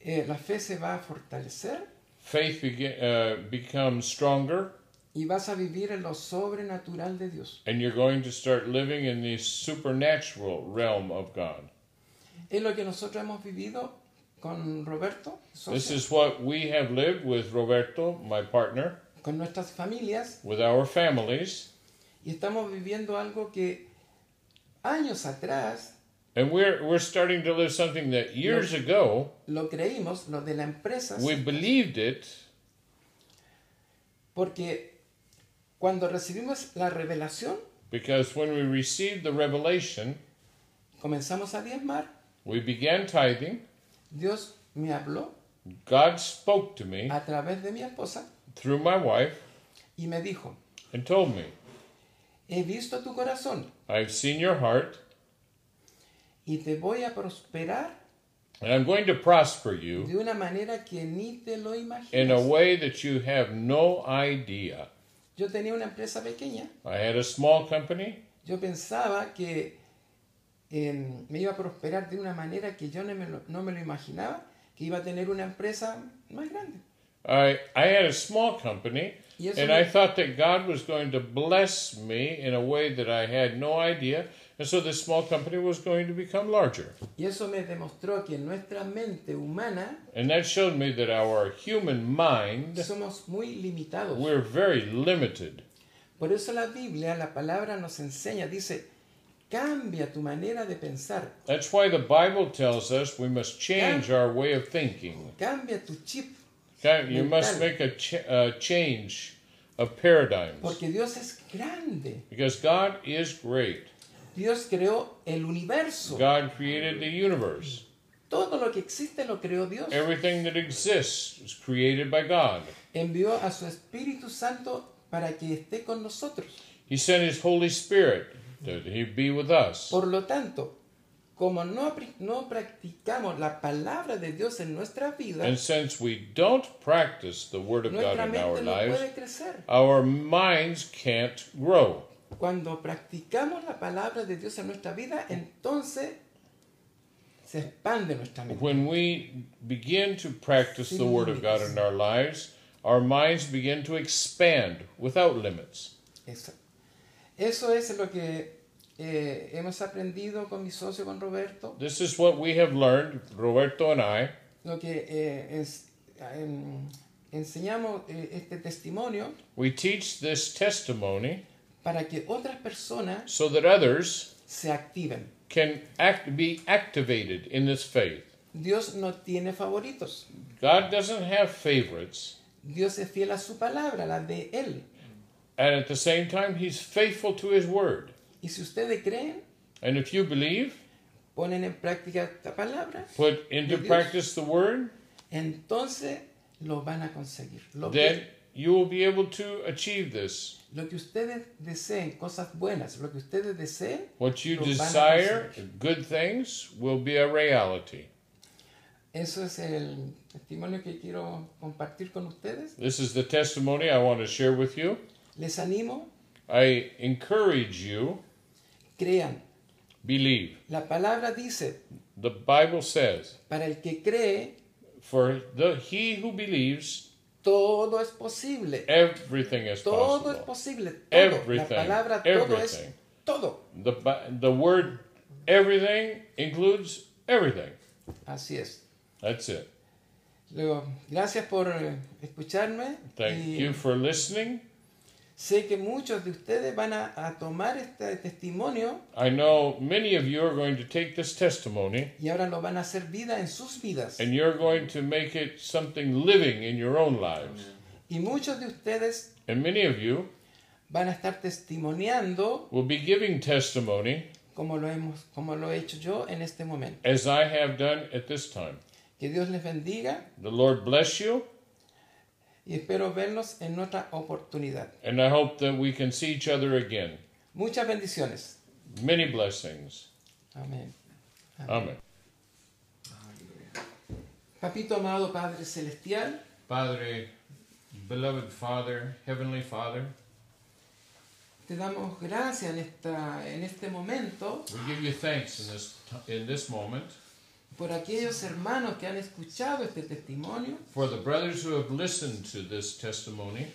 Speaker 1: eh, la fe se va a fortalecer
Speaker 2: faith begin, uh, becomes stronger
Speaker 1: y vas a vivir en lo sobrenatural de Dios,
Speaker 2: and you're going to start living in the supernatural realm of God.
Speaker 1: es lo que nosotros hemos vivido con Roberto, socio,
Speaker 2: This is what we have lived with Roberto, my partner,
Speaker 1: con nuestras familias
Speaker 2: with our families,
Speaker 1: y estamos viviendo algo que años atrás
Speaker 2: and we're we're starting to live something that years ago
Speaker 1: lo creímos, lo de la empresa,
Speaker 2: we believed it
Speaker 1: porque cuando recibimos la revelación
Speaker 2: because when we received the revelation,
Speaker 1: comenzamos a diezmar,
Speaker 2: we began tithing.
Speaker 1: Dios me habló
Speaker 2: God spoke to me
Speaker 1: a través de mi esposa
Speaker 2: through my wife
Speaker 1: y me dijo,
Speaker 2: and told me,
Speaker 1: he visto tu corazón
Speaker 2: "I've seen your heart,
Speaker 1: y te voy a prosperar
Speaker 2: and I'm going to prosper you
Speaker 1: de una manera que ni te lo
Speaker 2: in a
Speaker 1: imaginas.
Speaker 2: way that you have no idea."
Speaker 1: Yo tenía una empresa pequeña,
Speaker 2: I had a small company.
Speaker 1: yo pensaba que eh, me iba a prosperar de una manera que yo no me, lo, no me lo imaginaba, que iba a tener una empresa más grande.
Speaker 2: I I had a small company,
Speaker 1: Y eso
Speaker 2: and
Speaker 1: me-
Speaker 2: I thought that God was going to bless me in a way that I had no idea, and so this small company was going to become larger.
Speaker 1: Y eso me demostró que nuestra mente humana
Speaker 2: And that showed me that our human mind
Speaker 1: somos muy limitados.
Speaker 2: we're very limited.
Speaker 1: Por eso la Biblia, la palabra nos enseña, dice, cambia tu manera de pensar,
Speaker 2: That's why the Bible tells us we must change our way of thinking.
Speaker 1: cambia tu chip,
Speaker 2: Okay, You
Speaker 1: Mental.
Speaker 2: must make a ch- uh, change of paradigms
Speaker 1: porque Dios es grande.
Speaker 2: because God is great.
Speaker 1: Dios creó el universo.
Speaker 2: God created the universe.
Speaker 1: Todo lo que existe lo creó Dios.
Speaker 2: Everything that exists was created by God.
Speaker 1: Envió a su Espíritu Santo para que esté con nosotros.
Speaker 2: He sent His Holy Spirit that He be with us.
Speaker 1: Por lo tanto, como no, pri- no practicamos la palabra de Dios en nuestra vida,
Speaker 2: And since we don't practice the Word of God
Speaker 1: nuestra
Speaker 2: in our
Speaker 1: mente no
Speaker 2: lives,
Speaker 1: puede crecer.
Speaker 2: our minds can't grow.
Speaker 1: Cuando practicamos la palabra de Dios en nuestra vida, entonces se expande nuestra mente.
Speaker 2: When we begin to practice the Word of God in our lives, our minds begin to expand without limits.
Speaker 1: Eso, Eso es lo que eh, hemos aprendido con mi socio, con Roberto.
Speaker 2: This is what we have learned, Roberto and I.
Speaker 1: lo que eh, es- em, enseñamos eh, este testimonio
Speaker 2: We teach this testimony
Speaker 1: para que otras personas
Speaker 2: so that others
Speaker 1: se activen.
Speaker 2: can act, be activated in this faith.
Speaker 1: Dios no tiene favoritos.
Speaker 2: God doesn't have favorites,
Speaker 1: Dios es fiel a su palabra, la de Él.
Speaker 2: and at the same time, He's faithful to His Word.
Speaker 1: Y si ustedes creen,
Speaker 2: And if you believe,
Speaker 1: ponen en práctica esta palabra,
Speaker 2: put into
Speaker 1: Yes.
Speaker 2: practice the Word,
Speaker 1: entonces lo van a conseguir. Lo
Speaker 2: then
Speaker 1: que,
Speaker 2: you will be able to achieve this.
Speaker 1: lo que ustedes deseen, cosas buenas, lo que ustedes deseen,
Speaker 2: What you
Speaker 1: Lo van a
Speaker 2: desire,
Speaker 1: conseguir.
Speaker 2: good things, will be a reality.
Speaker 1: eso es el testimonio que quiero compartir con ustedes.
Speaker 2: This is the testimony I want to share with you.
Speaker 1: Les animo,
Speaker 2: I encourage you,
Speaker 1: crean.
Speaker 2: believe.
Speaker 1: La palabra dice,
Speaker 2: The Bible says,
Speaker 1: Para el que cree,
Speaker 2: for the he who believes,
Speaker 1: todo es posible.
Speaker 2: everything is
Speaker 1: Todo es
Speaker 2: possible.
Speaker 1: posible. Todo.
Speaker 2: Everything,
Speaker 1: La palabra todo es
Speaker 2: everything.
Speaker 1: todo.
Speaker 2: The, Bi- the word everything includes everything.
Speaker 1: Así es.
Speaker 2: That's it.
Speaker 1: Luego, gracias por eh, escucharme.
Speaker 2: Thank
Speaker 1: y
Speaker 2: you for listening.
Speaker 1: Sé que muchos de ustedes van a, a tomar este testimonio
Speaker 2: I know many of you are going to take this testimony
Speaker 1: y ahora lo van a hacer vida en sus vidas.
Speaker 2: and you're going to make it something living in your own lives.
Speaker 1: Y muchos de ustedes
Speaker 2: And many of you
Speaker 1: van a estar testimoniando
Speaker 2: will be giving testimony
Speaker 1: como lo hemos como lo he hecho yo en este momento.
Speaker 2: as I have done at this time.
Speaker 1: Que Dios les bendiga
Speaker 2: The Lord bless you,
Speaker 1: y espero verlos en otra oportunidad.
Speaker 2: and I hope that we can see each other again.
Speaker 1: Muchas bendiciones.
Speaker 2: Many blessings.
Speaker 1: Amén.
Speaker 2: Amen.
Speaker 1: Papito amado Padre Celestial,
Speaker 2: Padre, beloved Father, Heavenly Father,
Speaker 1: te damos gracias en, esta, en este momento
Speaker 2: we give you thanks in this in this moment
Speaker 1: por aquellos hermanos que han escuchado este testimonio.
Speaker 2: for the brothers who have listened to this testimony.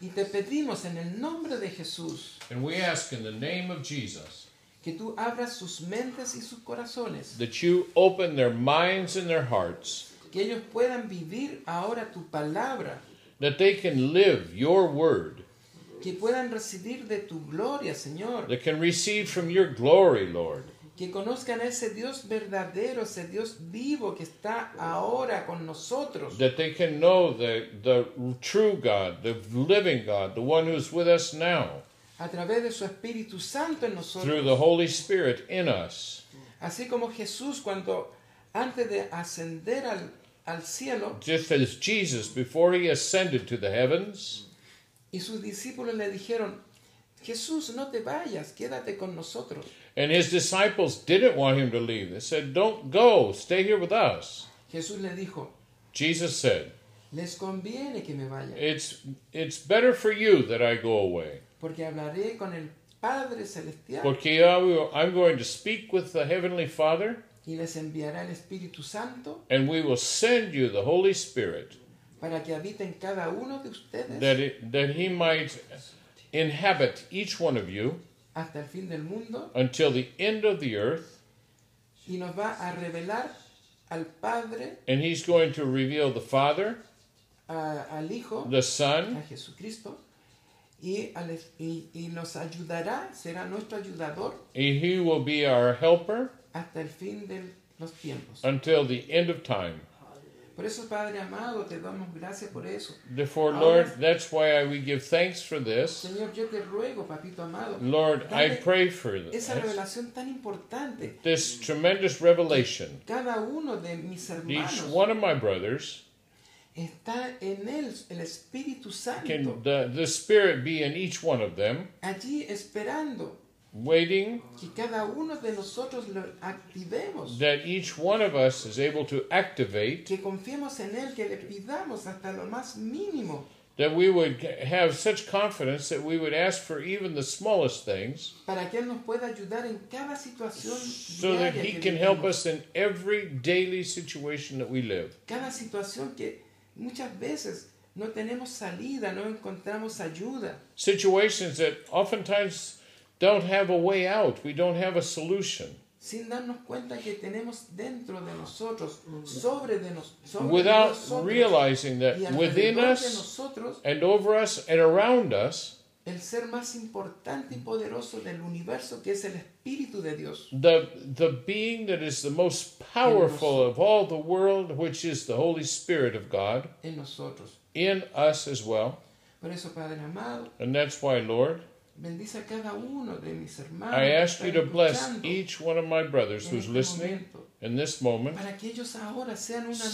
Speaker 1: Y te pedimos en el nombre de Jesús
Speaker 2: And we ask in the name of Jesus
Speaker 1: que tú abras sus mentes y sus corazones,
Speaker 2: that you open their minds and their hearts,
Speaker 1: que ellos puedan vivir ahora tu palabra,
Speaker 2: that they can live your word,
Speaker 1: que puedan recibir de tu gloria, Señor,
Speaker 2: that can receive from your glory, Lord.
Speaker 1: que conozcan a ese Dios verdadero, ese Dios vivo que está ahora con nosotros,
Speaker 2: that they can know the, the true God, the living God, the one who's with us now,
Speaker 1: a través de su Espíritu Santo en
Speaker 2: through
Speaker 1: nosotros,
Speaker 2: the Holy Spirit in us.
Speaker 1: así como Jesús cuando antes de ascender al, al cielo,
Speaker 2: Just as Jesus, before he ascended to the heavens,
Speaker 1: y sus discípulos le dijeron, Jesús, no te vayas, quédate con nosotros.
Speaker 2: and his disciples didn't want him to leave. They said, Don't go, stay here with us.
Speaker 1: Jesús le dijo,
Speaker 2: Jesus said,
Speaker 1: les conviene que me vaya,
Speaker 2: It's, it's better for you that I go away,
Speaker 1: porque hablaré con el Padre Celestial
Speaker 2: porque I will- I'm going to speak with the Heavenly Father,
Speaker 1: y les enviará el Espíritu Santo
Speaker 2: and we will send you the Holy Spirit
Speaker 1: para que habiten cada uno de ustedes
Speaker 2: that, it, that he might inhabit each one of you
Speaker 1: hasta el fin del mundo
Speaker 2: until the end of the earth,
Speaker 1: y nos va a revelar al Padre,
Speaker 2: and he's going to reveal the Father,
Speaker 1: a- al Hijo,
Speaker 2: the
Speaker 1: a
Speaker 2: Son,
Speaker 1: Jesucristo, y, al es- y- y nos ayudará, será nuestro ayudador
Speaker 2: and he will be our helper
Speaker 1: hasta el fin de los tiempos.
Speaker 2: until the end of time.
Speaker 1: Por eso, Padre amado, te damos gracias por eso.
Speaker 2: Therefore, Lord, that's why I, we give thanks for this.
Speaker 1: Señor, yo te ruego, papito amado,
Speaker 2: Lord, I pray for this,
Speaker 1: esa revelación tan importante.
Speaker 2: this tremendous revelation.
Speaker 1: Cada uno de mis
Speaker 2: Each
Speaker 1: hermanos
Speaker 2: one of my brothers,
Speaker 1: está en él, el Espíritu Santo,
Speaker 2: can the, the Spirit be in each one of them,
Speaker 1: allí esperando
Speaker 2: waiting
Speaker 1: que cada uno de nosotros lo activemos,
Speaker 2: that each one of us is able to activate
Speaker 1: que confiemos en él, que le pidamos hasta lo más mínimo
Speaker 2: that we would have such confidence that we would ask for even the smallest things
Speaker 1: para que él nos pueda ayudar en cada situación
Speaker 2: so that
Speaker 1: diaria
Speaker 2: he
Speaker 1: que
Speaker 2: can help
Speaker 1: vivimos.
Speaker 2: us in every daily situation that we live.
Speaker 1: cada situación que muchas veces no tenemos salida, no encontramos ayuda.
Speaker 2: Situations that oftentimes don't have a way out, we don't have a solution.
Speaker 1: sin darnos cuenta que tenemos dentro de nosotros, sobre de, nos- sobre de
Speaker 2: Without
Speaker 1: nosotros, y
Speaker 2: realizing that
Speaker 1: alrededor
Speaker 2: within
Speaker 1: de
Speaker 2: us
Speaker 1: nosotros,
Speaker 2: and over us and around us,
Speaker 1: el ser más importante y poderoso del universo, que es el Espíritu de Dios.
Speaker 2: the, the being that is the most powerful of all the world, which is the Holy Spirit of God,
Speaker 1: en nosotros.
Speaker 2: in us as well.
Speaker 1: Por eso, Padre amado,
Speaker 2: And that's why, Lord,
Speaker 1: bendice a cada uno de mis hermanos.
Speaker 2: I
Speaker 1: que
Speaker 2: ask you
Speaker 1: están
Speaker 2: to bless
Speaker 1: escuchando
Speaker 2: each one of my brothers
Speaker 1: en
Speaker 2: who's
Speaker 1: este
Speaker 2: listening
Speaker 1: momento,
Speaker 2: in this moment
Speaker 1: para que ellos ahora sean una nueva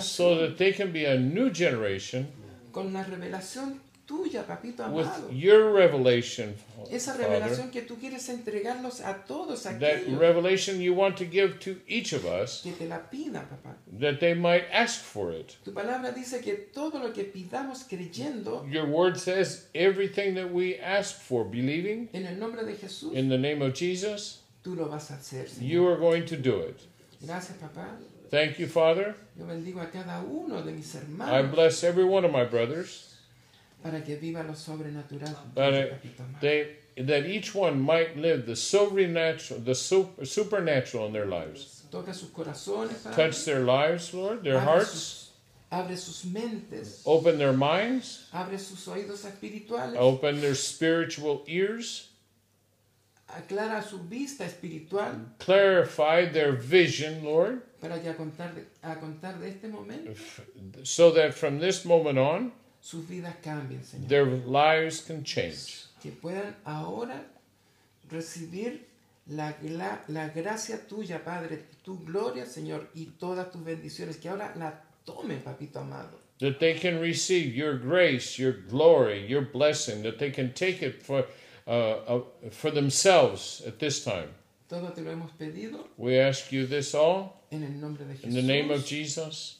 Speaker 2: so
Speaker 1: generación
Speaker 2: that they can be a new generation
Speaker 1: con la revelación tuya, papito
Speaker 2: with
Speaker 1: amado.
Speaker 2: your revelation,
Speaker 1: Esa
Speaker 2: Father.
Speaker 1: revelación que tú quieres entregarnos a todos
Speaker 2: That
Speaker 1: aquellos
Speaker 2: revelation you want to give to each of us
Speaker 1: que te la pida, papá.
Speaker 2: that they might ask for it.
Speaker 1: Tu palabra dice que todo lo que pidamos creyendo
Speaker 2: Your word says everything that we ask for, believing
Speaker 1: en el nombre de Jesús,
Speaker 2: in the name of Jesus,
Speaker 1: tú lo vas a hacer. Señor.
Speaker 2: you are going to do it.
Speaker 1: Gracias, papá.
Speaker 2: Thank you, Father.
Speaker 1: Yo bendigo a cada uno de mis
Speaker 2: I
Speaker 1: hermanos
Speaker 2: bless every one of my brothers
Speaker 1: para que viva lo sobrenatural.
Speaker 2: Padre,
Speaker 1: papito amado.
Speaker 2: they, that each one might live the supernatural, the super, supernatural in their lives.
Speaker 1: Toca sus corazones, Padre.
Speaker 2: Touch their lives, Lord, their
Speaker 1: Abre
Speaker 2: hearts.
Speaker 1: sus- Abre sus mentes,
Speaker 2: Open their minds.
Speaker 1: abre sus oídos espirituales,
Speaker 2: Open their spiritual ears.
Speaker 1: aclara su vista espiritual
Speaker 2: Clarify their vision, Lord,
Speaker 1: para que a contar, de- a contar de este momento
Speaker 2: so that from this moment on,
Speaker 1: sus vidas cambien, Señor.
Speaker 2: their lives can change.
Speaker 1: que puedan ahora recibir la, gla- la gracia tuya, Padre, tu gloria, Señor, y todas tus bendiciones, que ahora la tomen, papito amado.
Speaker 2: That they can receive your grace, your glory, your blessing. That they can take it for, uh, uh, for themselves at this time.
Speaker 1: Todo te lo hemos pedido
Speaker 2: We ask you this all
Speaker 1: en el nombre de
Speaker 2: in
Speaker 1: Jesús.
Speaker 2: the name of Jesus.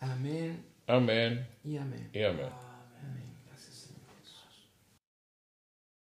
Speaker 1: Amén
Speaker 2: Amen.
Speaker 1: y amén.
Speaker 2: Amen.